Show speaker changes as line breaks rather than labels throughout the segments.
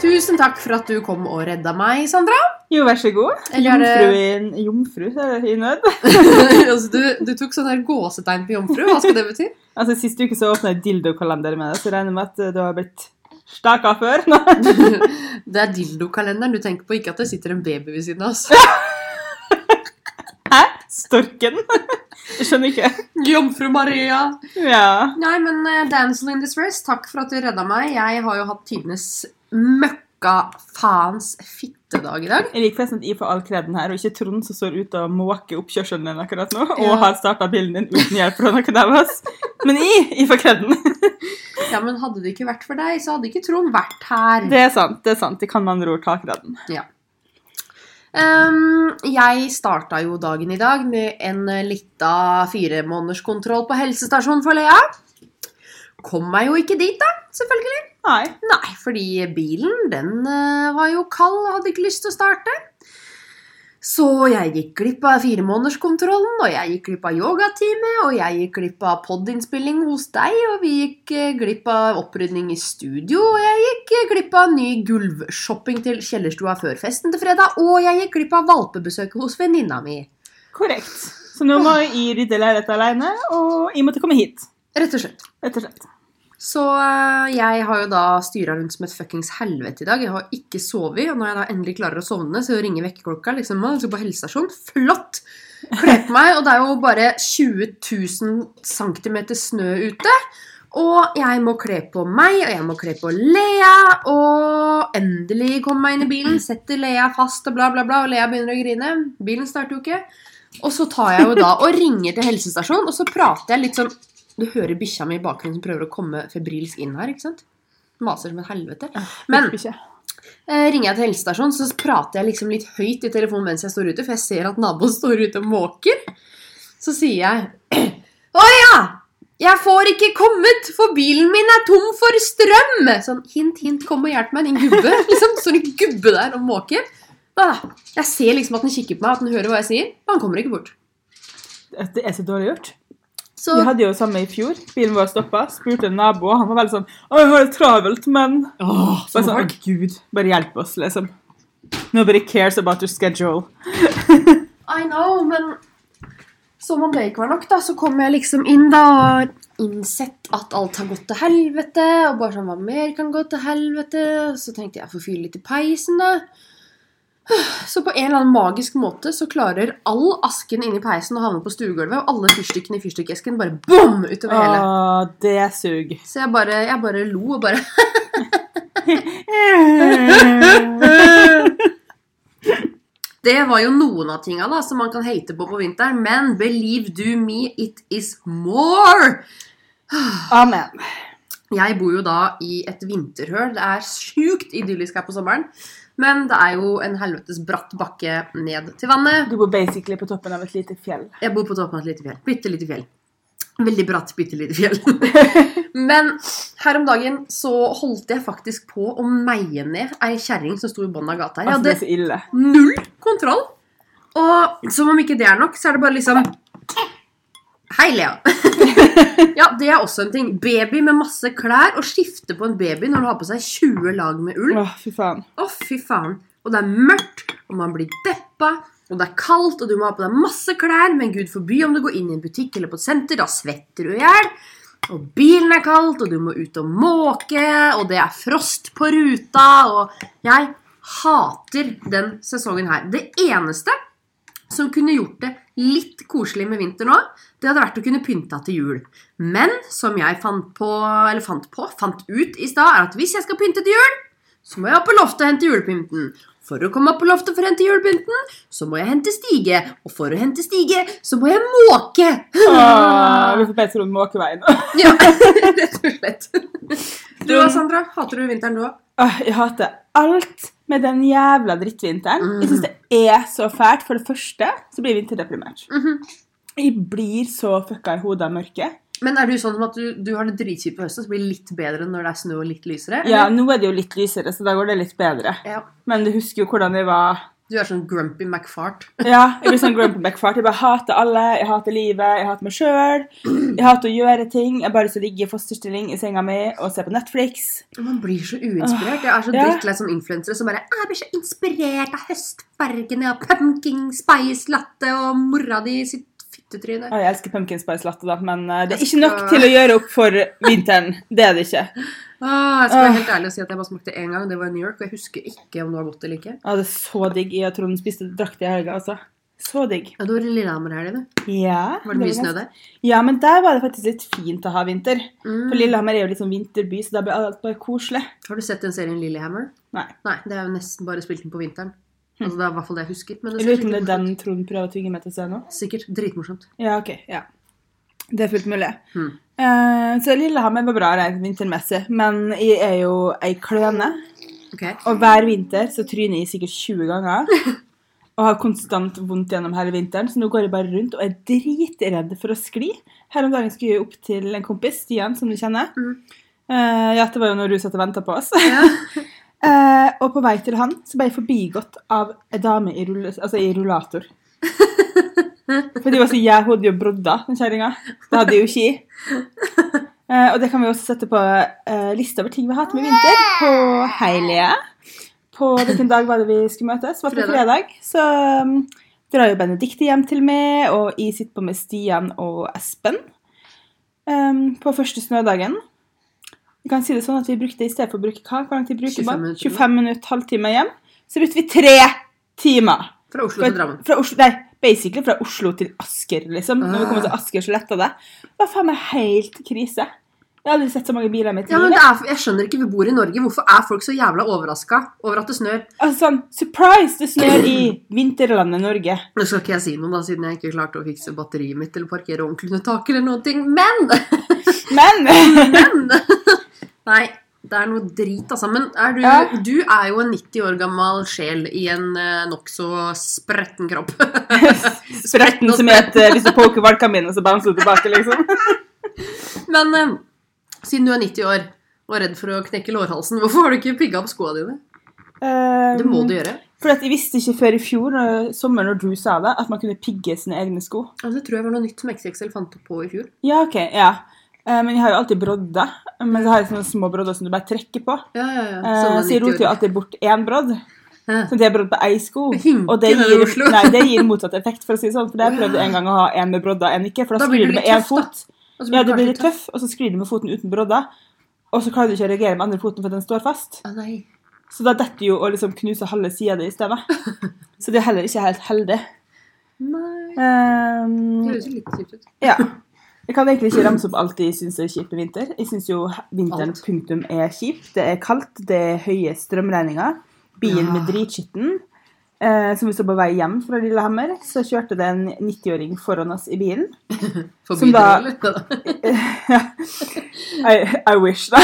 Tusen takk for at du kom og redda meg, Sandra.
Jo, vær så god.
Eller er
Jomfru
det-
i, jomfru er det i nød.
altså, du, du tok sånn der gåsetegn på jomfru. Hva skal det bety?
Altså, Sist uke så åpna jeg dildokalender med deg, så jeg regner med at eh, du har blitt staka før. nå.
Det er dildokalenderen du tenker på, ikke at det sitter en baby ved siden av oss.
Hæ? Storken? Jeg skjønner ikke.
Jomfru Maria.
Ja.
Nei, men eh, Damsel in Distress, takk for at du redda meg. Jeg har jo hatt tidenes møkka faens fittedag i dag.
Jeg liker forresten at jeg får all kreden her, og ikke Trond som står ute og måker oppkjørselen din akkurat nå, og
Ja.
har starta bilen din uten hjelp fra noen av oss. Men jeg, jeg får kreden.
Ja, men hadde det ikke vært for deg, så hadde ikke Trond vært her.
Det er sant. det er sant. Jeg kan med andre ord ta kreden.
Ehm, jeg starta jo dagen i dag med en eh, lita firemånederskontroll på helsestasjonen for Lea. Kom meg jo ikke dit, da. Selvfølgelig.
Nei.
Nei, fordi bilen den eh, var jo kald og hadde ikke lyst til å starte. Så jeg gikk glipp av firemånederskontrollen, og jeg gikk glipp av yogatime, og jeg gikk glipp av podinnspilling hos deg, og vi gikk eh, glipp av opprydning i studio, og jeg gikk eh, glipp av ny gulvshopping til kjellerstua før festen til fredag, og jeg gikk glipp av valpebesøket hos venninna mi.
Korrekt. Så nå må jeg rydde leiligheten alene, og jeg måtte komme hit.
Rett og slett.
Rett og slett.
Så eh, jeg har jo da styra rundt som et fuckings helvete i dag. Jeg har ikke sovet. Og når jeg da endelig klarer å sovne, så ringer vekkerklokka. liksom, «Å, du skal på helsestasjon. Flott! Kle på meg. Og det er jo bare 20 000 cm snø ute. Og jeg må kle på meg, og jeg må kle på Lea. Og endelig kommer meg inn i bilen, setter Lea fast og bla, bla, bla. Og Lea begynner å grine. Bilen starter jo ikke. Og så tar jeg jo da og ringer til helsestasjonen, og så prater jeg litt sånn Du hører bikkja mi i bakgrunnen som prøver å komme febrilsk inn her, ikke sant? Maser som et helvete. Men
Ikke.
eh, ringer jeg til helsestasjonen, så prater jeg liksom litt høyt i telefonen mens jeg står ute, for jeg ser at naboen står ute og måker. Så sier jeg Å ja! Jeg får ikke kommet, for bilen min er tom for strøm! Sånn hint, hint, kom og hjelp meg, din gubbe. Liksom, Står en gubbe der og måker. Da, da. Jeg ser liksom at den kikker på meg, at den hører hva jeg sier. Men han kommer ikke bort.
Det er så dårlig gjort.
Så
Vi hadde jo det samme i fjor. Bilen vår stoppa. Spurte en nabo, og han var veldig sånn Å, jeg har det travelt, men
Åh,
Bare sånn, «Å, Gud, bare hjelp oss, liksom. Nobody cares about your schedule.
I know, men som om det ikke var nok, da, så kom jeg liksom inn da og innsett at alt har gått til helvete, og bare sånn hva mer kan gå til helvete? Så tenkte jeg jeg får fyre litt i peisen, da. Så på en eller annen magisk måte så klarer all asken inni peisen å havne på stuegulvet, og alle fyrstikkene i fyrstikkesken bare bom utover hele.
Åh, det sug.
Så jeg bare, jeg bare lo og bare Det var jo noen av tinga da, som man kan hate på på vinteren, men believe do me, it is more!
Amen.
Jeg bor jo da i et vinterhøl. Det er sjukt idyllisk her på sommeren. Men det er jo en helvetes bratt bakke ned til vannet.
Du bor basically på toppen av et lite fjell.
Jeg bor på toppen av et lite fjell. Bitte lite fjell. Veldig bratt, bitte lite fjell. Men her om dagen så holdt jeg faktisk på å meie ned ei kjerring som sto i bånn av gata her. Jeg
Altså, det er
hadde
så ille.
null kontroll. Og som om ikke det er nok, så er det bare liksom Hei, Lea. ja, det er også en ting. Baby med masse klær. Å skifte på en baby når du har på seg 20 lag med ull.
Åh, fy faen.
Å, fy faen. Og det er mørkt, og man blir deppa, og det er kaldt, og du må ha på deg masse klær, men gud forby om du går inn i en butikk eller på et senter, da svetter du i hjel. Og bilen er kaldt, og du må ut og måke, og det er frost på ruta, og jeg hater den sesongen her. Det eneste som kunne gjort det litt koselig med vinter nå, det hadde vært å kunne pynta til jul. Men som jeg fant på, eller fant på, fant ut i stad, er at hvis jeg skal pynte til jul, så må jeg opp på loftet og hente julepynten. For å komme opp på loftet for å hente julepynten, så må jeg hente Stige. Og for å hente Stige, så må jeg måke.
Åh, vi får be til å måke veien.
ja, rett og slett. Um, Du da, Sandra? Hater du vinteren du òg?
Åh, jeg hater alt med den jævla drittvinteren.
Mm.
Jeg synes det er så fælt. For det første så blir jeg vinterdeprimert.
Mm-hmm.
Jeg blir så fucka i hodet av mørket.
Men er du sånn som at du, du har det dritkjipt på høsten, så blir det litt bedre når det er snø og litt lysere?
Ja,
eller?
nå er det jo litt lysere, så da går det litt bedre.
ja.
Men du husker jo hvordan jeg var
Du er sånn grumpy McFart.
Ja, jeg blir sånn grumpy backfart. Jeg bare hater alle. Jeg hater livet. Jeg hater meg sjøl. Jeg hater å gjøre ting. Jeg bare skal ligge i fosterstilling i senga mi og se på Netflix.
Man blir så uinspirert. Jeg er så
Ja.
drittlei som influensere som bare Jeg blir så inspirert av høstfargene og pumpkin spice latte og mora di sitt fittetryne.
Å, jeg elsker pumpkin spice latte, da, men eh, det er
Jeg
ikke nok
skal-
til å gjøre opp for vinteren. Det er det ikke.
Åh, jeg skal være
Åh.
helt ærlig og si at jeg bare smakte én gang. Det var i New York, og jeg husker ikke om det var godt eller ikke.
Å, det er så digg. Jeg tror hun spiste drakt i helga, altså. Så digg.
Ja, det var i Lillehammer her, det.
Ja,
Var det mye snø
ganske-
der?
Ja, men der var det faktisk litt fint å ha vinter. For
Mm.
Lillehammer er jo litt sånn vinterby, så da blir alt bare koselig.
Har du sett den serien Lillehammer?
Nei.
Nei, det er jo nesten bare spilt inn på vinteren. Altså, det er i hvert fall det jeg husker. Men det
Jeg
er
lurer på om det
sikkert,
er den Trond prøver å tvinge meg til å se nå.
sikkert dritmorsomt.
Ja, ok. Ja. Det er fullt mulig.
Hmm.
Eh, så Lillehammer var bra rent vintermessig, men jeg er jo ei kløne.
Ok.
Og hver vinter så tryner jeg sikkert 20 ganger. Og har konstant vondt gjennom hele vinteren, så nå går jeg bare rundt og er dritredd for å skli. Her om dagen skulle jeg opp til en kompis, Stian, som du kjenner.
Mm.
Eh, ja, det var jo når du satt og venta på oss.
Ja.
Eh, og på vei til han så ble jeg forbigått av ei dame i, rulle, altså i rullator. Fordi hun var så jævlig og brodda, den kjerringa. Det hadde jeg jo ikke i. Eh, og det kan vi også sette på eh, lista over ting vi har hatt med i vinter. På Heilige. På hvilken dag var det vi skulle møtes? Var det på
Fredag.
fredag? Så um, drar jo Benedicte hjem til meg, og jeg sitter på med Stian og Espen. Um, på første snødagen. Vi kan si det sånn at vi brukte i stedet for å bruke hva? Hvor lang tid bruker
25
man?
minutter.
25 minutter, halvtime hjem. Så brukte vi tre timer.
Fra Oslo
Fra,
til Drammen.
fra Oslo, nei, basically fra Oslo til Asker, liksom. Når vi kommer til Asker, så letta det. Det var faen meg helt krise. Jeg har aldri sett så mange biler i mitt
Ja, men
liv.
det er, jeg skjønner ikke, vi bor i Norge. Hvorfor er folk så jævla overraska over at det snør?
Altså sånn, Surprise! Det snør i vinterlandet Norge.
Nå skal ikke jeg si noe, da, siden jeg ikke klarte å fikse batteriet mitt eller parkere ordentlig under taket eller noen ting. Men!
Men
Men! Nei, det er noe drit, altså. Men er du,
Ja.
du er jo en 90 år gammel sjel i en eh, nokså spretten kropp.
Spretten som er et eh, Hvis du poker valgkaminen, så bouncer du tilbake, liksom.
Men eh, siden du er 90 år og er redd for å knekke lårhalsen, hvorfor har du ikke pigga opp skoa dine? Det
Ehm,
må du gjøre.
For at jeg visste ikke før i fjor eh, sommer når Drew sa det, at man kunne pigge sine egne sko.
Ja, det tror altså, jeg var noe nytt som XXL fant opp på i fjor.
Ja, ok, ja. Eh, Men jeg har jo alltid brodder. Men så har jeg sånne små brodder som du bare trekker på.
Ja, ja, ja.
Eh,
Sånne
Så jeg
90
roter jo
år.
alltid bort én brodd.
Ja.
Så det er brodd på ei sko.
Hinken
Og det
her i
gir,
Oslo.
nei, det gir motsatt effekt, for å si det sånn. For der prøvde jeg en gang å ha en med brodder, en ikke. For da,
Da blir
sklir
du
du med
litt
én
tøff, da.
fot.
Og så
Ja,
det
du blir
kanskje
litt tøff, og så sklir du med foten uten brodder. Og så klarer du ikke å reagere med andre foten for den står fast.
Ah, nei.
Så da detter jo og liksom knuser halve sida di i stedet. Så det er heller ikke helt heldig.
nei. Det
Ehm,
høres jo litt kjipt ut.
ja. Jeg kan egentlig ikke ramse opp alt jeg syns er kjipt med vinter. Jeg syns jo vinteren
Alt.
punktum er kjipt. Det er kaldt, det er høye strømregninger. Bilen
Ja.
med dritskitten. Eh, som vi så på vei hjem fra Lillehammer, så kjørte det en 90-åring foran oss i bilen.
Forbi det,
da-
eller?
I, I wish, da.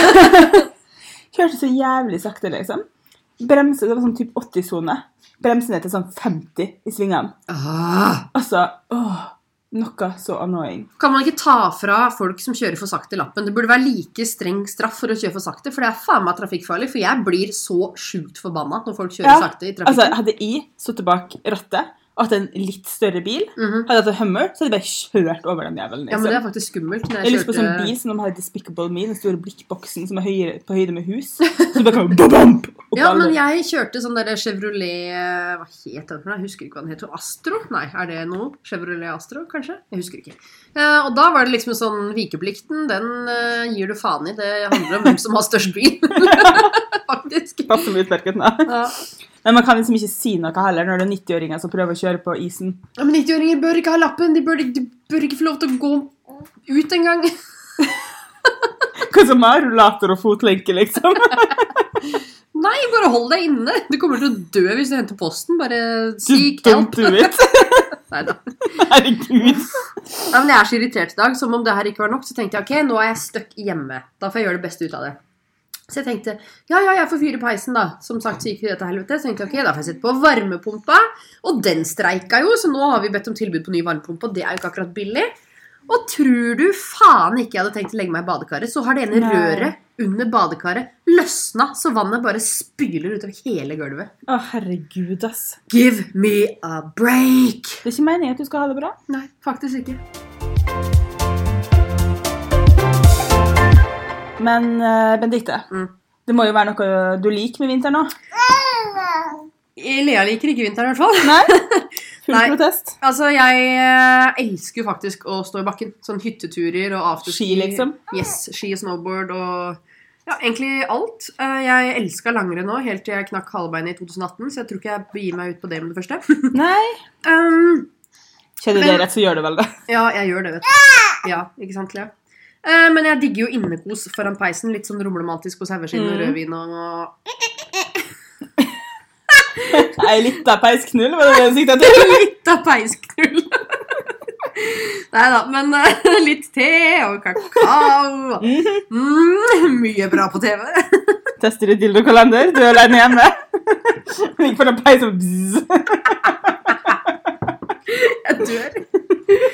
Kjørte så jævlig sakte, liksom. Bremse, det var sånn typ 80-sone. Bremse ned til sånn 50 i svingene.
Ah.
Altså, åh, noe så annoying.
Kan man ikke ta fra folk som kjører for sakte lappen? Det burde være like streng straff for å kjøre for sakte, for det er faen meg trafikkfarlig. For jeg blir så sjukt forbanna når folk kjører
Ja,
sakte i
Altså,
trafikken.
hadde jeg sittet bak rattet og hatt en litt større bil,
Mhm.
hadde jeg hatt en Hummer, så hadde jeg bare kjørt over den jævelen.
Ja,
Liksom.
men det er faktisk skummelt. Når
jeg har
altså, jeg eh,
lyst på
kjørte
sånn bil som de har i Despicable Me, den store blikkboksen som er høyere, på høyde med hus. Så du bare kan bam-bam!
Ja, men jeg kjørte sånn derre Chevrolet eh, Hva het den? for noe? Jeg husker ikke hva den het. Astro? Nei, er det noe? Chevrolet Astro, kanskje? Jeg husker ikke. Eh, og da var det liksom sånn Vikeplikten, den eh, gir du faen i. Det handler om hvem som har størst bil. faktisk.
Passer med utmerket nå.
Ja.
Men man kan liksom ikke si noe heller når det er 90-åringer som prøver å kjøre på isen.
Ja, men 90-åringer bør ikke ha lappen. De bør, de bør ikke få lov til å gå ut engang.
Hva som har rullator og fotlenke, liksom.
Nei, bare hold deg inne. Du kommer til å dø hvis du henter posten. Bare
You
seek
don't
help.
do it.
Neida.
Herregud.
Nei, men jeg er så irritert i dag. Som om det her ikke var nok, så tenkte jeg ok, nå er jeg stuck hjemme. Da får jeg gjøre det beste ut av det. Så jeg tenkte ja, ja, jeg får fyre peisen, da. Som sagt så gikk det til helvete. Så tenkte jeg ok, da får jeg sette på varmepumpa. Og den streika jo, så nå har vi bedt om tilbud på ny varmepumpe, og det er jo ikke akkurat billig. Og tror du faen ikke jeg hadde tenkt å legge meg i badekaret, så har det ene
Nei.
røret under badekaret løsna, så vannet bare spyler utover hele gulvet.
Å, herregud, ass.
Give me a break!
Det er ikke meningen at du skal ha det bra.
Nei, faktisk ikke.
Men eh, Benedicte,
Mm.
det må jo være noe du liker med vinteren òg?
Lea liker ikke vinteren i hvert fall.
Nei? Full
Nei.
protest?
Altså, jeg eh, elsker jo faktisk å stå i bakken. Sånn hytteturer og afterski.
Ski, liksom?
Yes, ski og snowboard og ja, egentlig alt. Eh, jeg elska langrenn nå, helt til jeg knakk halebeinet i 2018, så jeg tror ikke jeg begir meg ut på det med det første.
Nei?
um,
Kjenner du det rett, så gjør du vel det.
ja, jeg gjør det, vet du. Ja, ikke sant, Lea? Eh, men jeg digger jo innekos foran peisen. Litt sånn rumlemantisk på saueskinn og
Mm.
rødvin og
Ei lita peisknull, var det det du sikta til?
Litt av peisknull. Nei da, men eh, litt te og kakao. Mm, mye bra på TV.
Tester du dildokalender? Du er alene hjemme? Ligger foran peisen og bzz.
Jeg dør.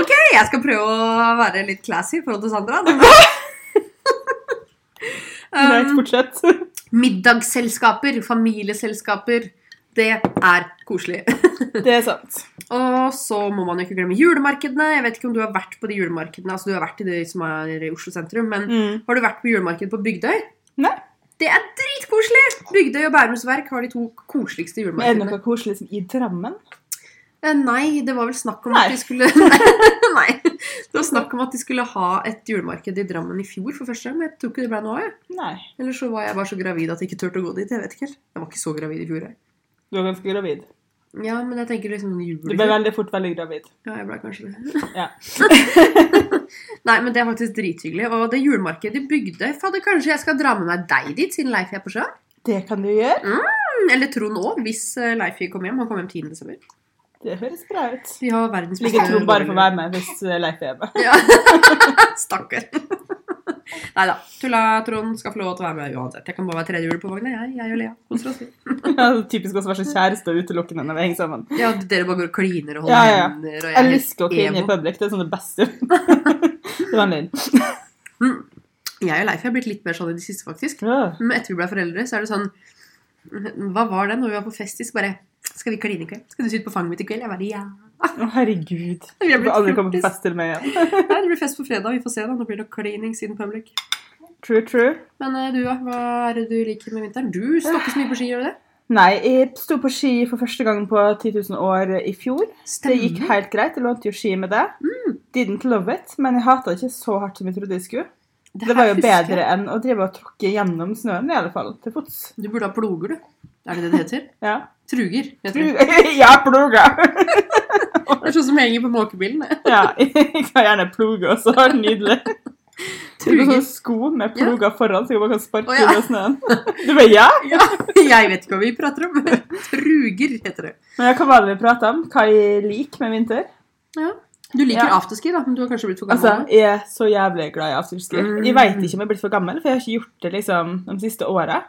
Ok, jeg skal prøve å være litt classy i forhold til Sandra.
Greit,
Um,
fortsett.
middagsselskaper, familieselskaper. Det er koselig.
Det er sant.
Og så må man jo ikke glemme julemarkedene. Jeg vet ikke om du har vært på de julemarkedene, altså du har vært i de som er i Oslo sentrum, men
Mm.
Har du vært på julemarked på Bygdøy?
Nei.
Det er dritkoselig! Bygdøy og Bærums Verk har de to koseligste
Men er det
julemarkedene.
noe koselig som i Drammen?
Eh, Nei, det var vel snakk om
Nei.
at de skulle Nei. Det var snakk om at de skulle ha et julemarked i Drammen i fjor for første gang, men jeg tror ikke det ble noe av. jeg.
Nei.
Eller så var jeg bare så gravid at jeg ikke turte å gå dit. Jeg vet ikke helt. Jeg var ikke så gravid i fjor, jeg.
Du var ganske gravid.
Ja, men jeg tenker liksom jul
Du ble veldig fort veldig gravid.
Ja, jeg ble kanskje det.
Ja.
Nei, men det er faktisk drithyggelig. Og det julemarkedet i Bygdøy Fader, kanskje jeg skal dra med meg deg dit, siden Leif er på sjøen?
Det kan du gjøre.
Eller Trond òg, hvis eh, Leif vil komme hjem. Han kommer hjem 10. desember.
Det høres bra ut.
De har verdens
Ligger Trond bare for å være med hvis eh, Leif er hjemme.
Ja. Stakkar. Nei da. Tulla Trond skal få lov til å være med uansett. Jeg kan bare være tredje hjul på vogna, jeg, jeg og Lea. Koser oss. vi.
Ja, det er typisk også å være så kjæreste og utelukkende når vi henger sammen.
Ja, dere bare går og kliner og holder
Ja, ja, ja.
hender, og jeg er
Jeg
helt
elsker å kline i
emo.
public. Det er sånn det beste. Det var en løgn.
Jeg og Leif har blitt litt mer sånn i det siste, faktisk.
Ja.
Men etter vi ble foreldre, så er det sånn Hva var det når vi var på fest i så bare Skal vi kline i kveld? Skal du sitte på fanget mitt i kveld? Jeg bare ja.
Å, herregud.
Vi
Jeg
har
får
blitt
aldri komme på
fjortis.
fest til meg igjen.
Nei, det blir fest på fredag. Vi får se, da. Nå blir det klining siden public.
True, true.
Men eh, du, da? Hva er det du liker med vinteren? Du står ikke så mye på ski, gjør du det?
Nei, jeg sto på ski for første gang på 10 000 år i fjor. Det gikk helt greit. Jeg lånte jo ski med deg.
Mm.
Didn't love it, men jeg hata det ikke så hardt som jeg trodde jeg skulle.
Det
Det
her
var jo
husker jeg.
bedre enn å drive og tråkke gjennom snøen, i alle fall. Til fots.
Du burde ha ploger, du. Er det det det heter?
Ja.
Truger. Heter det.
Ja, ploga!
det er sånn som henger på måkebilen. det.
Ja, jeg kan gjerne ploge også. Det var nydelig. Du har
Truger.
sånne sko med ploger foran, så jeg bare kan sparke
Å, ja.
under snøen. Du bare, ja?
Ja, jeg vet ikke hva vi prater om. Truger heter det.
Men hva var det vi pratet om? Hva jeg liker med vinter?
Ja. Du liker
Ja.
afterski, da, men du har kanskje blitt for gammel?
Altså, jeg er så jævlig glad i afterski.
Mm.
Jeg vet ikke om jeg er blitt for gammel, for jeg har ikke gjort det liksom de siste åra.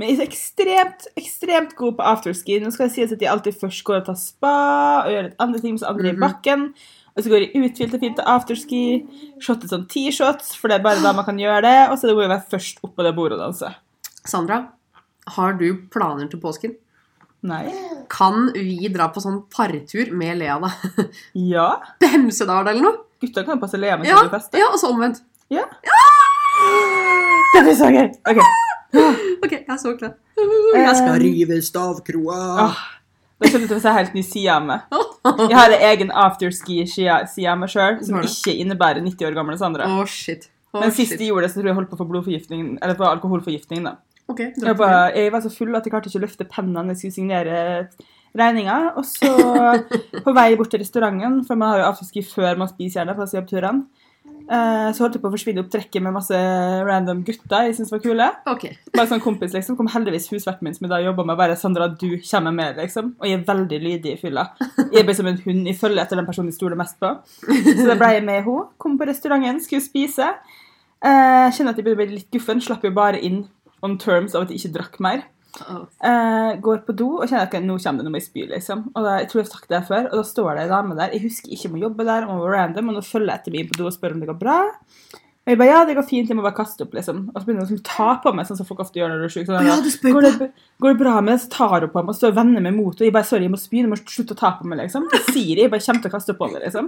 Men jeg er ekstremt, ekstremt god på afterski. Nå skal det sies at jeg alltid først går og tar spa og gjør litt andre ting mens andre er i
Mhm.
bakken. Og så går jeg uthvilt og fint til afterski. Shotte sånn T-shots, for det er bare da man kan gjøre det. Og så må jeg være først opp på det bordet og danse.
Sandra, har du planer til påsken?
Nei.
Kan vi dra på sånn partur med Lea, da?
Ja.
Hemsedal eller noe?
Gutta kan jo passe lea mens
Ja,
de fester.
ja og så omvendt.
Ja. Det blir så gøy! Ok.
Ok, jeg er så klar. Jeg skal rive stavkroa.
Åh, Da kommer du til å se helt ny side av meg.
Å,
Jeg har en egen afterski-side av meg sjøl som
Har du?
ikke innebærer 90 år gamle Sandra.
shit. Å,
Men sist
shit.
jeg gjorde det, så tror jeg jeg holdt på å få blodforgiftning, eller på alkoholforgiftning. da.
Ok, dra
Jeg,
på
bare, jeg var så full at jeg klarte ikke å løfte pennen når jeg skulle signere regninga. Og så på vei bort til restauranten, for man har jo afterski før man spiser gjerne på disse jobbturene, eh, så holdt jeg på å forsvinne opp trekket med masse random gutter jeg syntes var kule.
det. Ok.
Bare sånn kompis liksom, kom heldigvis husverten min som jeg da jobba med, bare 'Sandra, du kommer med', liksom. Og jeg er veldig lydig i fylla. Jeg blir som en hund. Jeg følger etter den personen jeg stoler mest på. Så da ble jeg med henne. Kom på restauranten, skulle spise. Eh, kjenner at jeg begynner å bli litt guffen. Slapp jo bare inn on terms av at jeg ikke drakk mer.
Oh.
Eh, går på do og kjenner at nå kommer det noe i spy, liksom. Og da, jeg tror jeg har sagt det før, og da står det ei dame der. Jeg husker ikke om hun jobber der, om hun var random, og nå følger jeg etter meg inn på do og spør om det går bra. Og jeg bare ja, det går fint, jeg må bare kaste opp, liksom. Og så begynner hun å liksom ta på meg, sånn som folk ofte gjør når du er sjuk. Sånn,
Ja, du spør
går, det, går det bra med det, så tar hun på meg og står og vender meg mot henne. Jeg bare sorry, jeg må spy, du må slutte å ta på meg, liksom. Det sier jeg, jeg bare kommer til å kaste opp på meg, liksom.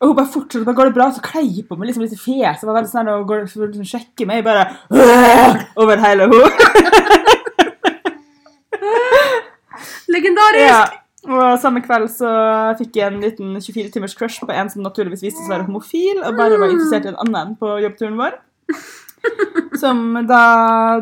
Og hun bare fortsetter, bare går det bra, så kleier på meg liksom litt i fjeset, var veldig sånn, og går, så liksom, sjekker meg, bare «Åh!» over hele henne.
Legendarisk!
Ja. Og samme kveld så fikk jeg en liten 24 timers crush på en som naturligvis viste seg å være homofil, og bare var interessert i en annen på jobbturen vår. Som da,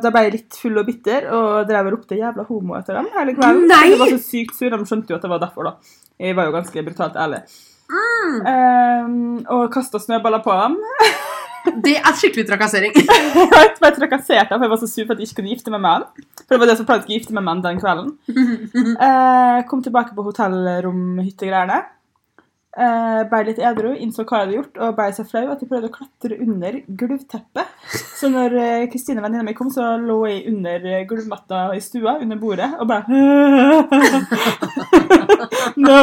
da ble jeg litt full og bitter og drev og ropte 'jævla homo' etter dem hele kvelden.
Nei!
Jeg var så sykt sur, de skjønte jo at det var derfor, da. Jeg var jo ganske brutalt ærlig. Eh, og kasta snøballer på dem.
Det er skikkelig trakassering.
Jeg ble trakassert av, for jeg var så sur for at jeg ikke kunne gifte meg med han. For det var det som pleide å gifte meg med han den kvelden. Eh, kom tilbake på hotellromhyttegreiene. Eh, ble litt edru, innså hva jeg hadde gjort, og ble så flau at jeg prøvde å klatre under gulvteppet. Så når eh, Kristine, venninna mi, kom, så lå jeg under eh, gulvmatta i stua, under bordet, og bare No!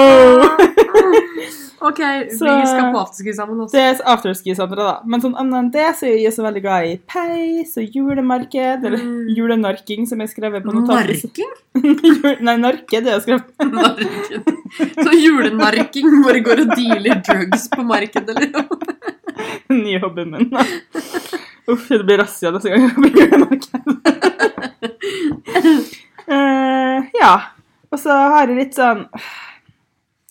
Ok,
Så-
vi skal på afterski sammen også.
Det er afterski-sandra, da. Men sånn annet enn det så er jeg så veldig glad i peis og julemarked, eller
Mm.
julenarking, som jeg skrev på notatet.
eh, Narking?
Jul- Nei, narke, det er jeg skrevet.
Narken. Så julenarking hvor det går og dealer drugs på markedet, liksom. eller?
Den nye hobbyen min. Uff, det blir razzia neste gang jeg blir julemarked. Eh, ja. Og så har jeg litt sånn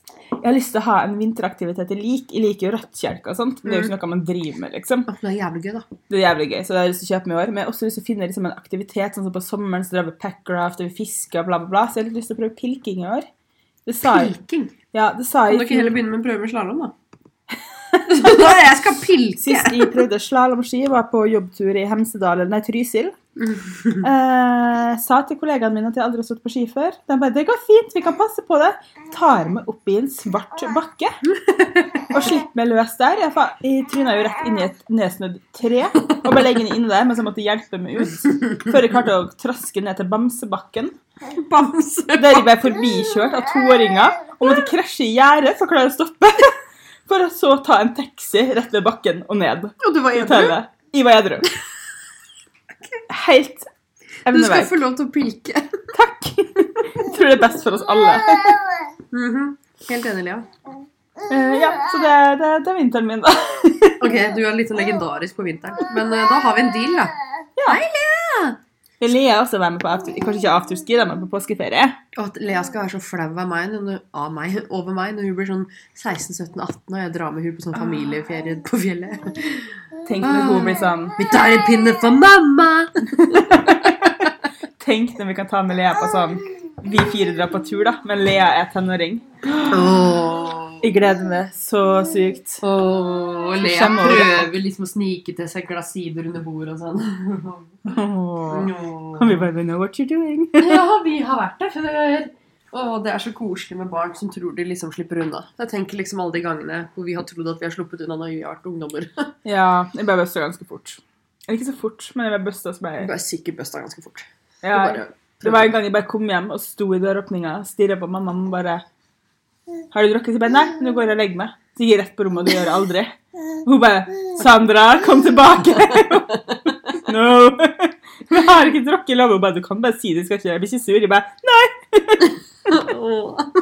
Jeg har lyst til å ha en vinteraktivitet jeg liker. Jeg liker jo rødtkjelke og sånt, men det er jo ikke noe man driver med, liksom.
Det er jævlig gøy, da.
Det er jævlig gøy, så det har jeg lyst til å kjøpe meg i år. Men jeg har også lyst til å finne liksom, en aktivitet, sånn som på sommeren så drar vi packraft og vi fisker og bla, bla, bla. Så jeg har litt lyst til å prøve pilking i år. Det sa jeg.
Pilking.
Ja, det sa
Kan dere
jeg. i
ikke
fjor.
heller begynne med en prøve med slalåm, da? Nei, jeg skal pilke!
Sist jeg prøvde slalåmski, var på jobbtur i Hemsedal, nei, Trysil. Eh, sa til kollegaene mine at jeg aldri har stått på ski før. De bare 'Det går fint, vi kan passe på det'. Tar meg opp i en svart bakke og slipper meg løs der. Jeg, fa- jeg tryna jo rett inn i et nedsnødd tre og ble liggende inne der mens jeg måtte hjelpe meg ut. Før jeg klarte å traske ned til Bamsebakken.
Bamse.
Der jeg ble forbikjørt av toåringer og måtte krasje i gjerdet for å klare å stoppe. For å så ta en taxi rett ved bakken og ned.
Og du var edru.
Tøve. I var edru. Helt
Du skal
evneveik.
få lov til å pilke.
Takk! Jeg tror det er best for oss alle.
Mhm. Helt enig, Lea.
Eh, ja, så det, det, det er vinteren min, da.
Ok, du er litt sånn legendarisk på vinteren. Men eh, da har vi en deal, da.
Lea er også være med på after, kanskje ikke afterski, de er med på påskeferie.
Og at Lea skal være så flau av meg, når- av meg, over meg når hun blir sånn 16-17-18 og jeg drar med hun på sånn familieferie på fjellet.
Tenk når hun blir sånn
Vi tar en pinne for mamma!
Tenk når vi kan ta med Lea på sånn Vi fire drar på tur, da, men Lea er tenåring.
Åh,
Jeg gleder meg så sykt.
Åh, Lea
Skjemmer over dette.
prøver liksom å snike til seg glasider under bordet og sånn.
Åh.
Nå.
Og vi bare We know what you're doing.
Ja, vi har vært der før. Åh, det er så koselig med barn som tror de liksom slipper unna. Jeg tenker liksom alle de gangene hvor vi har trodd at vi har sluppet unna når vi har vært ungdommer.
Ja, jeg ble busta ganske fort. Eller ikke så fort, men jeg ble busta som
Vi
jeg
ble sikkert busta ganske fort. Vi
ja,
bare-
Det var en gang jeg bare kom hjem og sto i døråpninga og stirra på mamma og bare 'Har du drukket?' Så jeg bare 'Nei, nå går jeg og legger meg'. Så gikk jeg rett på rommet, og det gjør jeg aldri. Hun bare 'Sandra, kom tilbake!' no. Jeg har ikke drukket lov. Hun bare 'Du kan bare si det, skal ikke jeg blir ikke sur'. Jeg bare 'Nei'.
Åh.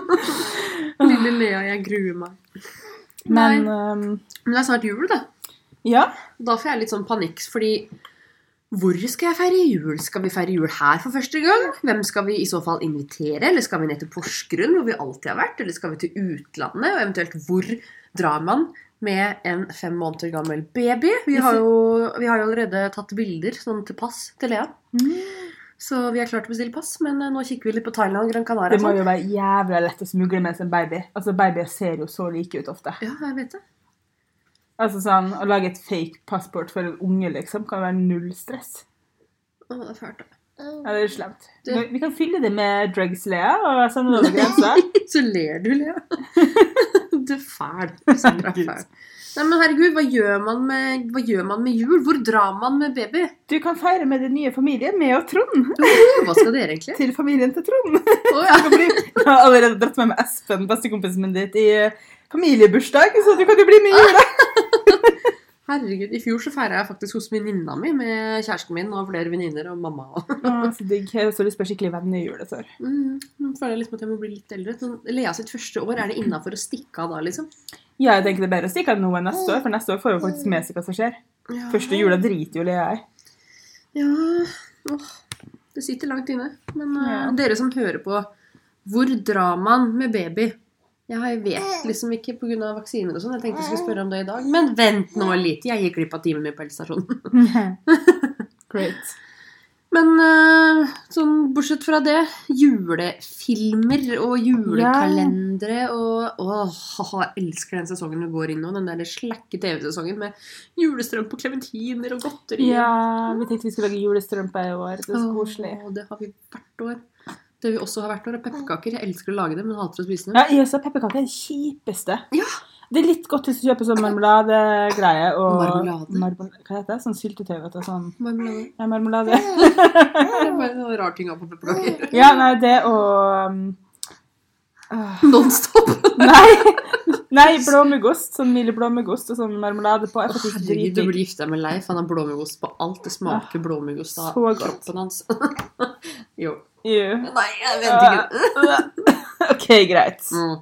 Lille Lea, jeg gruer meg.
Men
Nei.
øhm,
Men det er snart jul, da.
ja.
Da får jeg litt sånn panikk, fordi hvor skal jeg feire jul? Skal vi feire jul her for første gang? Hvem skal vi i så fall invitere? Eller skal vi ned til Porsgrunn, hvor vi alltid har vært? Eller skal vi til utlandet? Og eventuelt hvor drar man med en fem måneder gammel baby? Vi har jo, vi har jo allerede tatt bilder sånn til pass til Lea. Så vi har klart å bestille pass, men eh, nå kikker vi litt på Thailand og Gran Canaria. og
Det må
sånn.
jo være jævla lett å smugle med seg en baby. Altså, Babyer ser jo så like ut ofte.
Ja, jeg vet det.
Altså sånn, Å lage et fake passport for en unge liksom, kan være null stress.
Å, det er fælt, da.
Ja, det er slemt.
Du-
Men Vi kan fylle det med drugs, Lea, og sende det over grensa.
Så ler du, Lea. Du er fæl. Sandra er
Herregud.
fæl. Nei, men herregud, hva gjør, man med, hva gjør man med jul? Hvor drar man med baby?
Du kan feire med din nye familie, med og Trond.
Jo, Hva skal dere egentlig?
Til familien til Trond.
Å, ja.
Det kan bli- Jeg har allerede dratt med meg Espen, bestekompisen min, dit i eh, familiebursdag, så du kan jo bli med i jula.
Herregud, I fjor så feira jeg faktisk hos venninna mi med kjæresten min og flere venninner og mamma. og-
Å, Så digg. Jeg har så lyst på skikkelig venn i jula. så.
Mm, nå føler jeg liksom at jeg må bli litt eldre. Sånn, Lea sitt første år, er det innafor å stikke av da, liksom?
Ja, jeg tenker det er bedre å stikke av nå enn neste år, for neste år får jo faktisk med seg hva som skjer.
Ja.
Første jula driter jo Lea i.
Ja åh, Det sitter langt inne. Men eh,
Ja.
dere som hører på, hvor drar man med baby? Jeg har- jeg vet liksom ikke pga. vaksiner og sånn. Jeg tenkte jeg skulle spørre om det i dag. Men vent nå litt. Jeg gikk glipp av timen min på helsestasjonen.
Great.
Men eh, sånn bortsett fra det Julefilmer og julekalendere og Åh, haha, jeg elsker den sesongen vi går inn nå. Den der slakke TV-sesongen med julestrømpe og klementiner og godteri.
Ja, vi tenkte vi skulle lage julestrømpe i år. Det er så koselig.
Åh, det har vi hvert år. Det vi også har hvert år, er pepperkaker. Jeg elsker å lage dem, men hater å spise dem.
Ja, jeg også har pepperkaker. Den kjipeste.
Mm. Ja.
Det er litt godt hvis du kjøper sånn marmeladegreie og
Marmelade.
Marmel hva heter det? Sånn syltetøy, vet du. Sånn
Marmelade.
ja, marmelade.
Det er bare en sånn rar ting å ha på pepperkaker.
Ja, nei, det og um, øh,
Nonstop!
Nei! Nei, blåmuggost. Sånn mild blåmuggost og sånn marmelade på.
Å,
Jeg får faktisk
herregud, du
dritdigg. Ah,
blir gifta med Leif. Han har blåmuggost på alt. Det smaker blåmuggost av
så godt.
kroppen hans. jo.
Ew.
Nei, jeg vet ikke.
OK, greit.
Mm.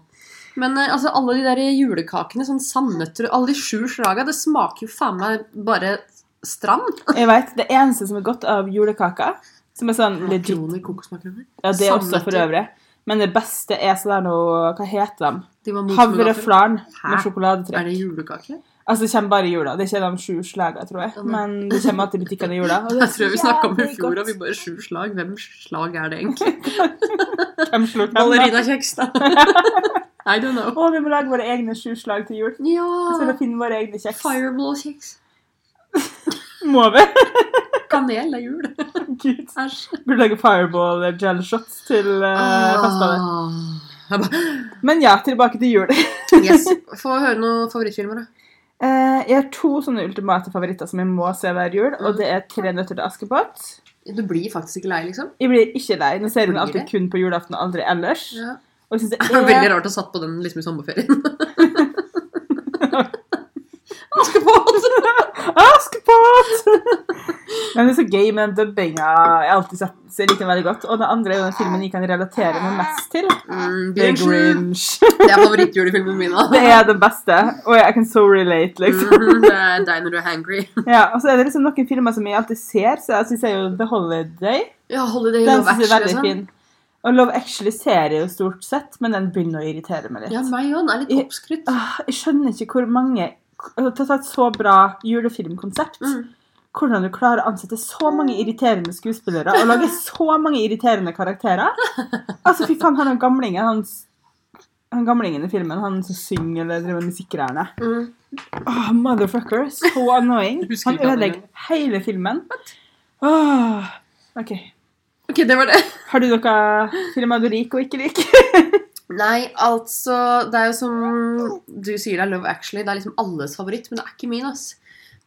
Men eh, altså, alle de der julekakene, sånn sandnøtter og alle de sju slaga, det smaker jo faen meg bare strand.
Jeg vet, Det eneste som er godt av julekaker, som er sånn legit
Makroner, kokosmakroner.
Ja, det er også for
Sandnøtter.
øvrig. Men det beste er sånn der noe Hva heter de?
De var morsmelaffer.
Havreflarn med
Hæ?
sjokoladetrekk.
Er det julekake?
Altså, det kommer bare i jula. Det er ikke de sju slagene, tror jeg.
Ja, nei.
Men det kommer alltid i butikkene i jula. og det er
Jeg tror vi snakka om i
jævlig
fjor,
godt.
og vi bare sju slag. Hvem slag er det egentlig?
Hvem slår hvem, da?
Ballerinakjeks, da. I don't know.
Å, vi må lage våre egne sju slag til jul. Så skal
Ja.
vi finne våre egne kjeks.
Fireball-kjeks.
Må vi?
Kanel er jul.
Gud.
Æsj.
Burde lage fireball eh, gel shots til uh,
Ah.
festene.
Jeg bare-
Men ja, tilbake til jul.
Yes. Få høre noen favorittfilmer, da.
Eh, jeg har to sånne ultimate favoritter som jeg må se hver jul, og det er Tre nøtter til Askepott.
Du blir faktisk ikke lei, liksom.
Jeg blir ikke lei. Nå ser jeg den
Blir
alltid
det?
kun på julaften og aldri ellers.
Ja.
Og jeg synes det er
Veldig rart å satt på den liksom i sommerferien. Askepott!
Askepott! Men det er så gøy med den dubbinga. Jeg har alltid sett så jeg liker den veldig godt. Og den andre er jo den filmen jeg kan relatere meg mest til.
Mm,
Det er
Grinchen.
Grinch.
Det er favorittjulefilmen min. da.
Det er den beste. Og jeg I can so relate, liksom.
Mhm, det er deg når du er hangry.
Ja, og så er det liksom noen filmer som jeg alltid ser, så jeg synes jeg jo The Holiday.
Ja, Holiday
Den
Love
synes jeg
Actually.
er veldig
Sånn.
fin. Og Love Actually ser jeg jo stort sett, men den begynner å irritere meg litt.
Ja, meg òg. Den er litt oppskrytt.
Åh, jeg skjønner ikke hvor mange altså, Det er et så bra julefilmkonsept.
Mm.
Hvordan du klarer å ansette så mange irriterende skuespillere og lage så mange irriterende karakterer. Altså, fy faen, han er gamlingen han, han gamlingen i filmen, han som synger eller driver med musikkgreiene.
Mm.
Åh, motherfucker. Så annoying.
Jeg husker
Han
ikke han
ødelegger hele filmen. Åh, OK.
Ok, det var det.
Har du noen filmer du liker og ikke liker?
Nei, altså Det er jo som du sier, det er Love Actually. Det er liksom alles favoritt, men det er ikke min. ass.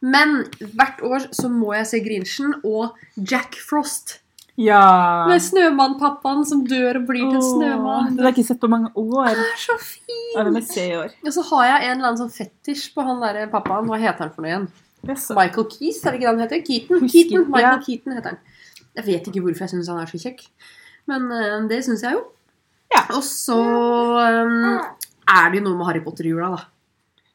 Men hvert år så må jeg se Grinchen og Jack Frost.
Ja.
Med snømannpappaen som dør og blir til en
Åh,
snømann.
Den har jeg ikke sett på mange år.
Det er så
Ja, den må
fin!
jeg se i år.
Og så har jeg en eller annen sånn fetisj på han derre pappaen. Hva heter han for noe igjen?
Yes.
Michael Keys, er det ikke det han heter? Keaton?
Husker
Keaton.
ikke,
Michael
ja.
Keaton heter han. Jeg vet ikke hvorfor jeg syns han er så kjekk, men eh, det syns jeg jo.
Ja.
Og så eh, er det jo noe med Harry Potter i jula, da.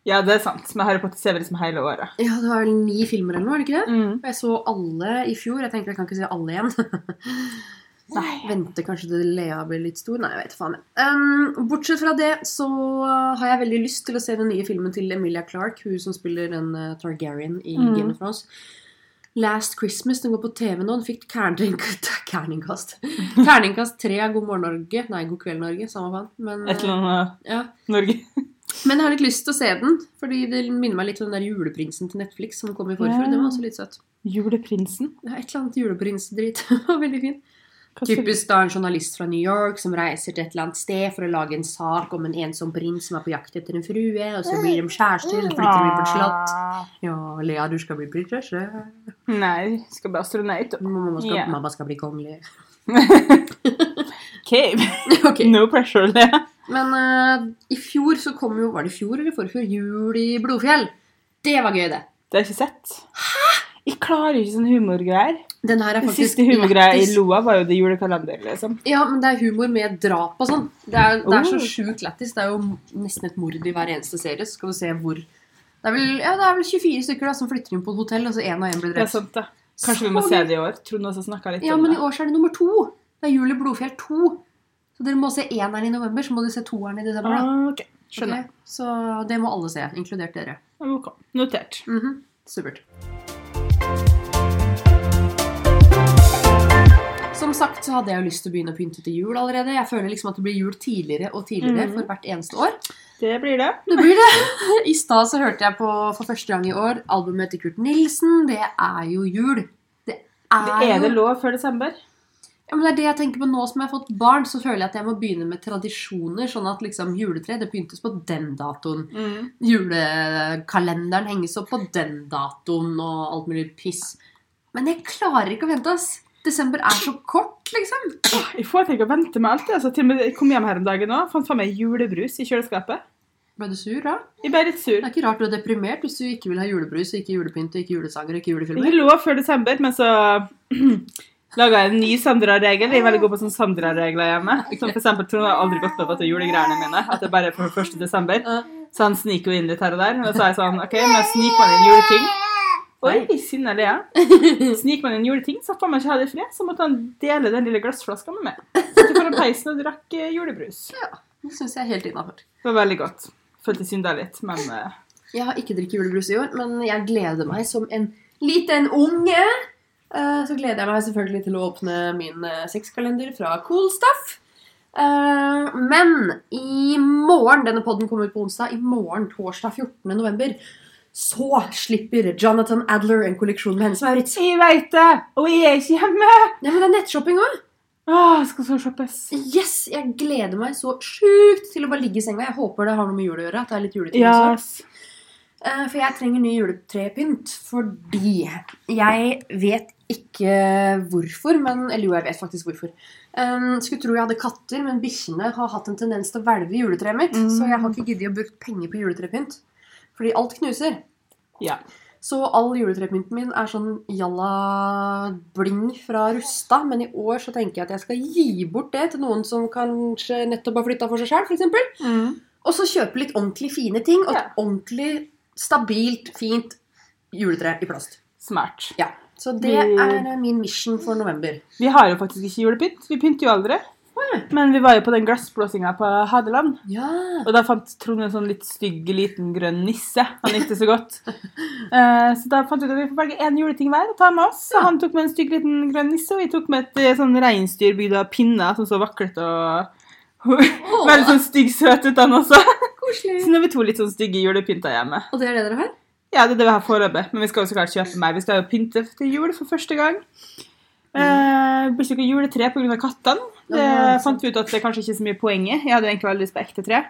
Ja, det er sant. Men Harry Potter ser vi liksom hele året.
Ja, det var vel ni filmer eller noe, er det ikke det? Og jeg så alle i fjor. Jeg tenker jeg kan ikke se alle igjen.
Nei.
Vente kanskje til Lea blir litt stor. Nei, jeg vet faen. Um, bortsett fra det så har jeg veldig lyst til å se den nye filmen til Emilia Clarke, hun som spiller den eh, Targaryen i
Mm.
Game of Thrones. Last Christmas, den går på TV nå. Den fikk terning- terningkast Terningkast tre av God morgen Norge. Nei, God kveld Norge, samme faen. Men,
Et eller
eh,
annet
ja.
Norge.
Men jeg har litt lyst til å se den, fordi det minner meg litt om den der juleprinsen til Netflix som kom i forfjor.
Ja.
Den var også litt søt.
Juleprinsen.
Det er et eller annet juleprinsdrit. Det var Veldig fin.
Hva skal-
Typisk da en journalist fra New York som reiser til et eller annet sted for å lage en sak om en ensom prins som er på jakt etter en frue, og så blir de kjærester, og så flytter de på et slott.
Ah.
Ja, Lea, du skal bli prinsesse.
Nei, skal bli astronaut.
Mamma skal,
Ja.
mamma skal bli kongelig.
OK.
Ok.
No pressure, Lea.
Men eh, i fjor så kom jo Var det i fjor eller forfjor? Jul i Blodfjell. Det var gøy, det.
Det har jeg ikke sett. Jeg klarer ikke sånne humorgreier.
Den her er
Den
faktisk
siste humorgreia jeg
lættis.
lo av, var jo det julekalenderen, liksom.
Ja, men det er humor med drap og sånn. Det er, det er så
Oh.
sjukt lættis. Det er jo nesten et mord i hver eneste serie. Så skal vi se hvor Det er vel, ja, det er vel 24 stykker da, som flytter inn på et hotell, og så én og én blir
Det er
drept.
sant, da. Kanskje vi
Så
må se
gøy.
det i år. Trond også snakka litt
Ja,
om
men i
det.
år så er det nummer to. Det er Jul i Blodfjell 2. Så dere må se eneren i november, så må dere se toeren i desember. da.
Ah, ok. Skjønner.
Ok? Så det må alle se, inkludert dere.
Ok. Notert.
Mhm. Supert. Som sagt så hadde jeg jo lyst til å begynne å pynte til jul allerede. Jeg føler liksom at det blir jul tidligere og tidligere
Mhm.
for hvert eneste år.
Det blir det.
Det blir det. I stad så hørte jeg på for første gang i år albumet til Kurt Nilsen. Det er jo jul. Det er,
Det er
jo
det lov før desember.
ja, men det er det jeg tenker på nå som jeg har fått barn, så føler jeg at jeg må begynne med tradisjoner, sånn at liksom juletre det pyntes på den datoen. Julekalenderen henges opp på den datoen og alt mulig piss. Men jeg klarer ikke å vente, ass. Desember er så kort, liksom.
Jeg foretrekker å vente med alt. jeg, Altså, til og med jeg kom hjem her om dagen òg, fant faen meg julebrus i kjøleskapet.
Ble du sur da?
Jeg ble litt sur.
Det er ikke rart du er deprimert hvis du ikke vil ha julebrus, og ikke julepynt, og ikke julesanger og ikke
Det
julefilmer.
er lov før desember, men så laga jeg en ny Sandra-regel. Jeg er veldig god på sånne Sandra-regler hjemme. Som for eksempel Trond har aldri gått med på at det er julegreiene mine. At det bare er for 1. desember.
Ja.
Så han sniker jo inn litt her og der. Og så er jeg sånn OK, men sniker man inn juleting Oi, sinna Lea. Sniker man inn juleting, så får man ikke ha det i fred. Så måtte han dele den lille glassflaska med meg. Satt foran peisen og drakk eh, julebrus.
Det syns jeg er helt innafor.
Det var veldig godt. Følte synda litt, men eh,
Jeg har ikke drukket julebrus i år, men jeg gleder meg som en liten unge. Eh, Så gleder jeg meg selvfølgelig til å åpne min eh, sexkalender fra Cool Stuff. Eh, Men i morgen, denne podden kommer ut på onsdag, i morgen torsdag 14. november, så slipper Jonathan Adler en kolleksjon med hennes Maurits.
Jeg veit det! Og jeg er ikke hjemme!
Nei, men det er nettshopping òg!
Åh, skal så shoppes.
Yes! Jeg gleder meg så sjukt til å bare ligge i senga. Jeg håper det har noe med jul å gjøre. at det er litt juleting også.
Yes.
Eh, For jeg trenger ny juletrepynt fordi jeg vet ikke hvorfor, men Eller jo, jeg vet faktisk hvorfor. Eh, skulle tro jeg hadde katter, men bikkjene har hatt en tendens til å hvelve i juletreet mitt.
Mm.
Så jeg har ikke giddet å bruke penger på juletrepynt. Fordi alt knuser.
Ja.
Så all juletrepynten min er sånn jalla bling fra Rusta. Men i år så tenker jeg at jeg skal gi bort det til noen som kanskje nettopp har flytta for seg sjøl, f.eks. Og så kjøpe litt ordentlig fine ting, og
Ja.
et ordentlig, stabilt, fint juletre i plast.
Smart.
Ja. Så det
Vi-
er eh, min mission for november.
Vi har jo faktisk ikke julepynt. Vi pynter jo aldri.
ja.
Men vi var jo på den glassblåsinga på Hadeland,
Ja.
og da fant Trond en sånn litt stygg, liten grønn nisse. Han likte så godt. Eh, så da fant vi ut at vi får velge én juleting hver og ta med oss. Så
Ja.
han tok med en stygg, liten grønn nisse, og vi tok med et eh, sånn reinsdyr bygd av pinner som så vaklet og Veldig sånn stygg, søt ut, han også. Så
koselig.
nå er vi to litt sånn stygge julepynter hjemme.
Og det er det dere har?
Ja, det er det vi har foreløpig. Men vi skal jo så klart kjøpe mer. Vi skal jo pynte til jul for første gang. Eh, Bestilte juletre pga. kattene. Det
Ja, sant.
fant vi ut at det kanskje ikke er så mye poeng i. Jeg hadde jo egentlig veldig lyst på ekte tre.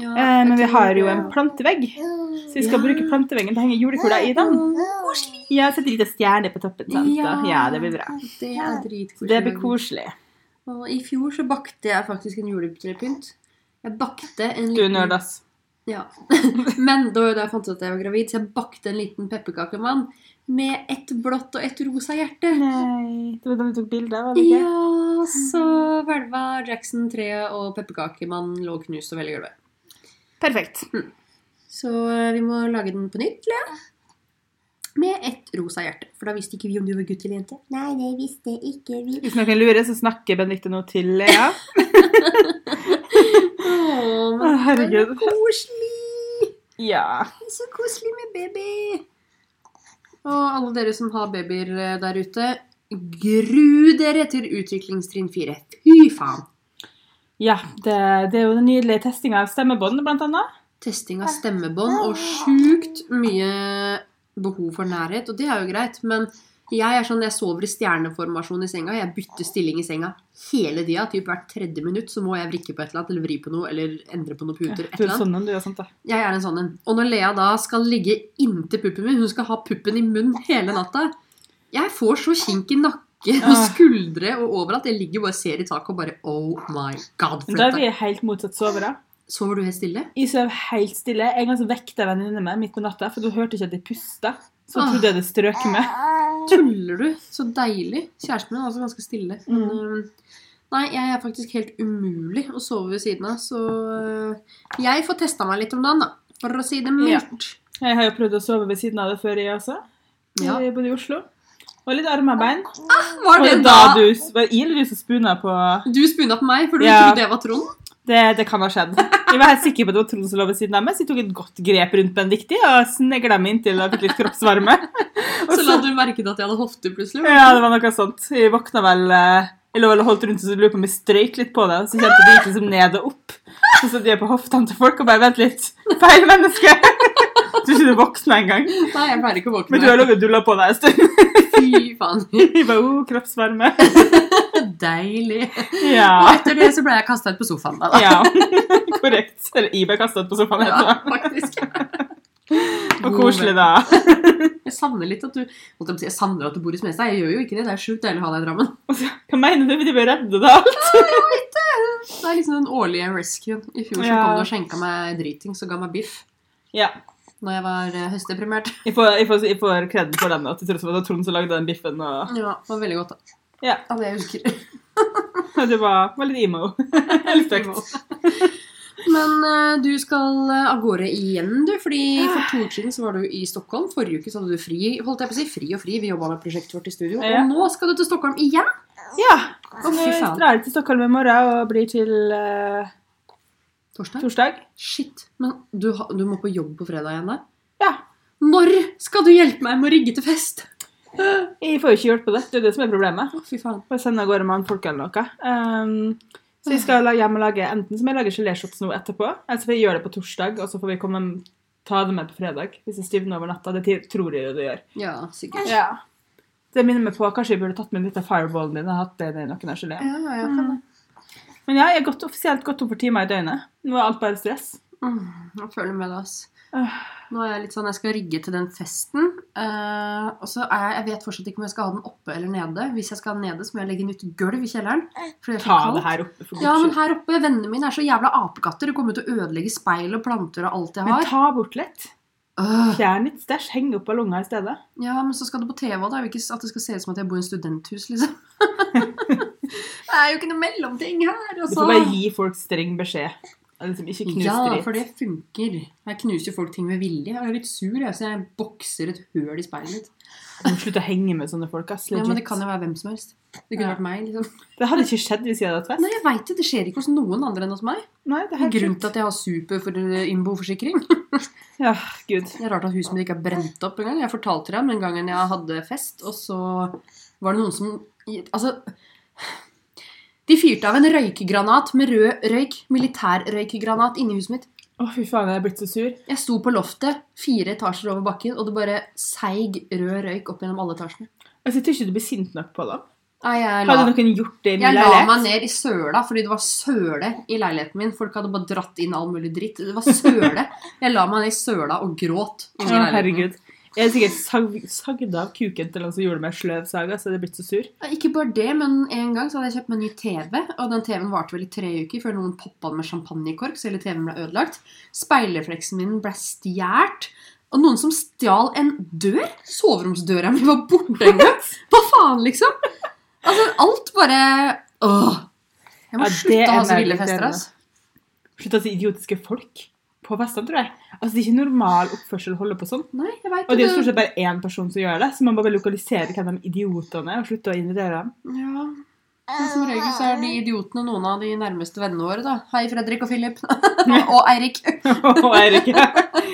Ja,
Eh, men vi har jo en
plan.
plantevegg, så vi skal
Ja.
bruke planteveggen til å henge julekula i den. Ja, sette litt stjerne på toppen. Sant? Ja. ja, det blir bra.
Det er dritkoselig.
Det blir koselig.
Og I fjor så bakte jeg faktisk en juletrepynt. Jeg bakte en
Du nerd, ass.
Ja. Men da var jo da jeg fant ut at jeg var gravid, så jeg bakte en liten pepperkakemann med ett blått og ett rosa hjerte.
Nei. Det var da vi tok bilde, var det ikke?
Ja, så hvelva Jackson 3 og pepperkakemann lå knust over hele gulvet.
Perfekt.
Så eh, vi må lage den på nytt, Lea. Med ett rosa hjerte. For da visste ikke vi om du var gutt eller jente. Nei, det visste ikke vi.
Hvis noen lurer, så snakker Benedicte nå til Lea.
Å,
Å,
men det er
herregud.
koselig!
Ja.
Det er Så koselig med baby! Og alle dere som har babyer eh, der ute, gru dere til utviklingstrinn 4. Fy faen!
Ja, det, det er jo den nydelige testinga av stemmebånd, blant annet.
testing av stemmebånd og sjukt mye behov for nærhet, og det er jo greit, men Jeg er sånn, jeg sover i stjerneformasjon i senga. Jeg bytter stilling i senga hele tida. Typ hvert tredje minutt så må jeg vrikke på et eller annet, eller vri på noe, eller endre på noen puter. et
Du
eller
er
annet.
sånn en, du er sant, da.
Jeg er en sånn en. Og når Lea da skal ligge inntil puppen min, hun skal ha puppen i munnen hele natta Jeg får så kink i nakke og
Ah.
skuldre og overalt. Jeg ligger bare og ser i taket og bare Oh my god.
Men Da er
Fletta.
vi helt motsatt sovere.
Sover du helt stille?
Jeg sov helt stille. En gang så vekta venninne meg midt på natta, for hun hørte ikke at jeg pusta. Så hun
Ah.
trodde jeg hadde strøket med.
Tuller du? Så deilig. Kjæresten min er altså ganske stille. Men, øhm, nei, jeg er faktisk helt umulig å sove ved siden av, så øh, jeg får testa meg litt om dagen, da. For å si det mildt.
Jeg har jo prøvd å sove ved siden av det før, jeg også.
Ja.
Jeg bodde i Oslo. Og litt armer og bein.
Var
Og
det da
da du, var det jeg eller du som spuna på
du spunna på meg, for du
Ja.
trodde jeg var Trond?
det, det kan ha skjedd. Jeg var helt sikker på at det var Trond som lå ved siden av meg, så jeg tok et godt grep rundt Benedicte og snegla meg inntil jeg fikk litt kroppsvarme. Og
Så la du merke til at jeg hadde hofter plutselig.
Ja, det var noe sånt. Jeg våkna vel eh, Jeg lå vel og holdt rundt og så lurer på om jeg strøyk litt på det. Så kjente jeg det gikk liksom ned og opp. Så satt jeg på hoftene til folk og bare Vent litt. Feil menneske. Du er ikke voksen engang.
Nei, jeg pleier ikke å
Men du har
våkne.
ligget og dulla på deg en stund.
Fy faen.
Jeg bare, oh, kroppsvarme.
Deilig. Og
Ja.
etter det så ble jeg kasta ut på sofaen. Da, da.
ja. Korrekt. Eller jeg ble kastet på sofaen
Ja,
etterpå.
faktisk.
Og koselig, da.
Jeg savner litt at du holdt jeg på å si, Jeg savner at du bor i Smestad. Jeg gjør jo ikke det. Det er sjukt deilig å ha deg i Drammen.
Og så, Hva mener du? De ble redde, da?
Det er liksom den årlige rescuen. I fjor så
Ja.
kom du og skjenka meg dritings og ga meg biff
Ja.
når jeg var eh, høstdeprimert.
Jeg får, jeg får, jeg får kreden for den, at jeg tror det var Trond som lagde den biffen. Og
Ja, det var veldig godt, da.
Ja.
Av det jeg husker.
det var, var litt emo. Litt stygt.
Men eh, du skal eh, av gårde igjen, du. Fordi for to uker siden så var du i Stockholm. Forrige uke så hadde du fri. holdt jeg på å si, Fri og fri. Vi jobba med prosjektet vårt i studio.
Ja.
Og nå skal du til Stockholm igjen!
Ja.
Å,
Så
fy
jeg
faen.
drar til Stockholm i morgen og blir til eh,
Torsdag?
torsdag.
Shit. Men du, ha- du må på jobb på fredag igjen, da?
Ja.
Når skal du hjelpe meg med å rigge til fest?
Jeg får jo ikke hjulpet det. Det er jo det som er problemet.
Å, fy faen.
Bare sende av gårde mannfolk eller noe. Ehm, så jeg skal la- hjem og lage enten som jeg lager geléshots nå etterpå, eller så får jeg gjøre det på torsdag, og så får vi komme ta det med på fredag hvis jeg stivner over natta. Det ti- tror jeg jo det gjør.
Ja, sikkert.
Ja. Det minner meg på Kanskje jeg burde tatt med litt av fireballen din og hatt det i noen av gelé.
Ja, ja, jeg kan det.
Men ja, jeg er gått, offisielt gått over timer i døgnet. Nå er alt bare stress.
Mm, jeg føler med deg, ass.
Øh.
Nå er jeg litt sånn, jeg skal rigge til den festen. eh, og så er jeg, jeg vet fortsatt ikke om jeg skal ha den oppe eller nede. Hvis jeg skal ha den nede, så må jeg legge nytt gulv i kjelleren. For det er for
Ta det
kaldt.
her oppe for guds
Ja, men
skyld.
her oppe, vennene mine er så jævla apekatter. De kommer til å ødelegge speil og planter og alt jeg
Men
har.
ta bort litt.
Øh.
Fjern litt stæsj, heng opp ballonger i stedet.
Ja, men så skal det på TV, og det er jo ikke at det skal se ut som at jeg bor i en studenthus, liksom. det er jo ikke noe mellomting her,
Du
altså.
får bare gi folk streng beskjed. Liksom, ikke knus
Ja,
dritt.
for det funker. Jeg knuser jo folk ting med vilje. Jeg er litt sur, jeg, så jeg bokser et høl i speilet mitt.
Du må slutte å henge med sånne folk. Ass,
Ja,
legit.
men det
det,
kan jo være hvem som helst. Det kunne
Ja.
vært meg, liksom.
hadde ikke skjedd hvis jeg hadde hatt fest.
Nei, jeg vet det. Det skjer ikke hos noen andre enn hos meg.
Nei, det er helt
Grunnen
sjukt.
til at jeg har super-innboforsikring.
Ja, gud.
Det er rart at huset mitt ikke er brent opp engang. Jeg fortalte deg om den gangen jeg hadde fest, og så var det noen som Altså De fyrte av en røykgranat med rød røyk, militærrøykgranat, inni huset mitt.
Å, fy faen, jeg er blitt så sur.
Jeg sto på loftet, fire etasjer over bakken, og det bare seig rød røyk opp gjennom alle etasjene.
Altså, jeg tror ikke du blir sint nok på dem.
Nei, jeg la,
Hadde noen gjort det i min
jeg la
leilighet?
meg ned i søla fordi det var søle i leiligheten min. Folk hadde bare dratt inn all mulig dritt. Det var søle. Jeg la meg ned i søla og gråt. inni
Å,
leiligheten min.
herregud. Jeg er sikkert sag- sagd av kuken til han som gjorde meg sløv saga, så jeg er blitt så sur.
Ja, Eh, Ikke bare det, men en gang så hadde jeg kjøpt meg en ny TV, og den TV-en varte vel i tre uker før noen poppa den med champagnekork, så hele TV-en ble ødelagt. Speilrefleksen min ble stjålet. Og noen som stjal en dør? Soveromsdøra mi var borte en gang! Hva faen, liksom? Altså, alt bare Åh! Jeg må
Ja, det
slutte å ha
er
så ville
veldig
fester, altså. ass.
Slutt å si idiotiske folk på festene, tror jeg. Altså, det er ikke normal oppførsel å holde på sånn.
Nei, jeg vet
Og det er jo
ikke
stort sett bare én person som gjør det, så man må bare lokalisere hvem de idiotene er, og slutte å invitere dem.
Ja. Men som regel så er de idiotene noen av de nærmeste vennene våre, da. Hei, Fredrik og Philip. og Eirik.
og Eirik.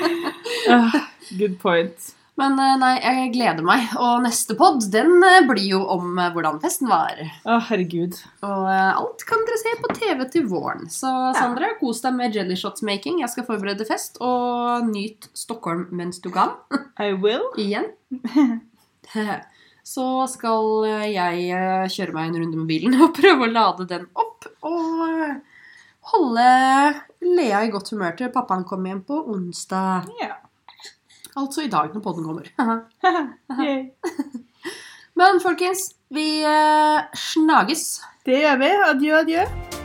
Ah, Good point.
Men eh, nei, jeg gleder meg. Og neste pod den eh, blir jo om eh, hvordan festen var.
Å, herregud.
Og eh, alt kan dere se på TV til våren. Så Sandra, kos deg med jellyshotsmaking. Jeg skal forberede fest. Og nyt Stockholm mens du kan.
I will.
Igjen. så skal eh, jeg eh, kjøre meg en runde med bilen og prøve å lade den opp. Og eh, holde Lea i godt humør til pappaen kommer hjem på onsdag.
Ja.
Altså i dag når podden kommer.
Yay.
Men folkens, vi eh, snages.
Det gjør vi. Adjø, adjø.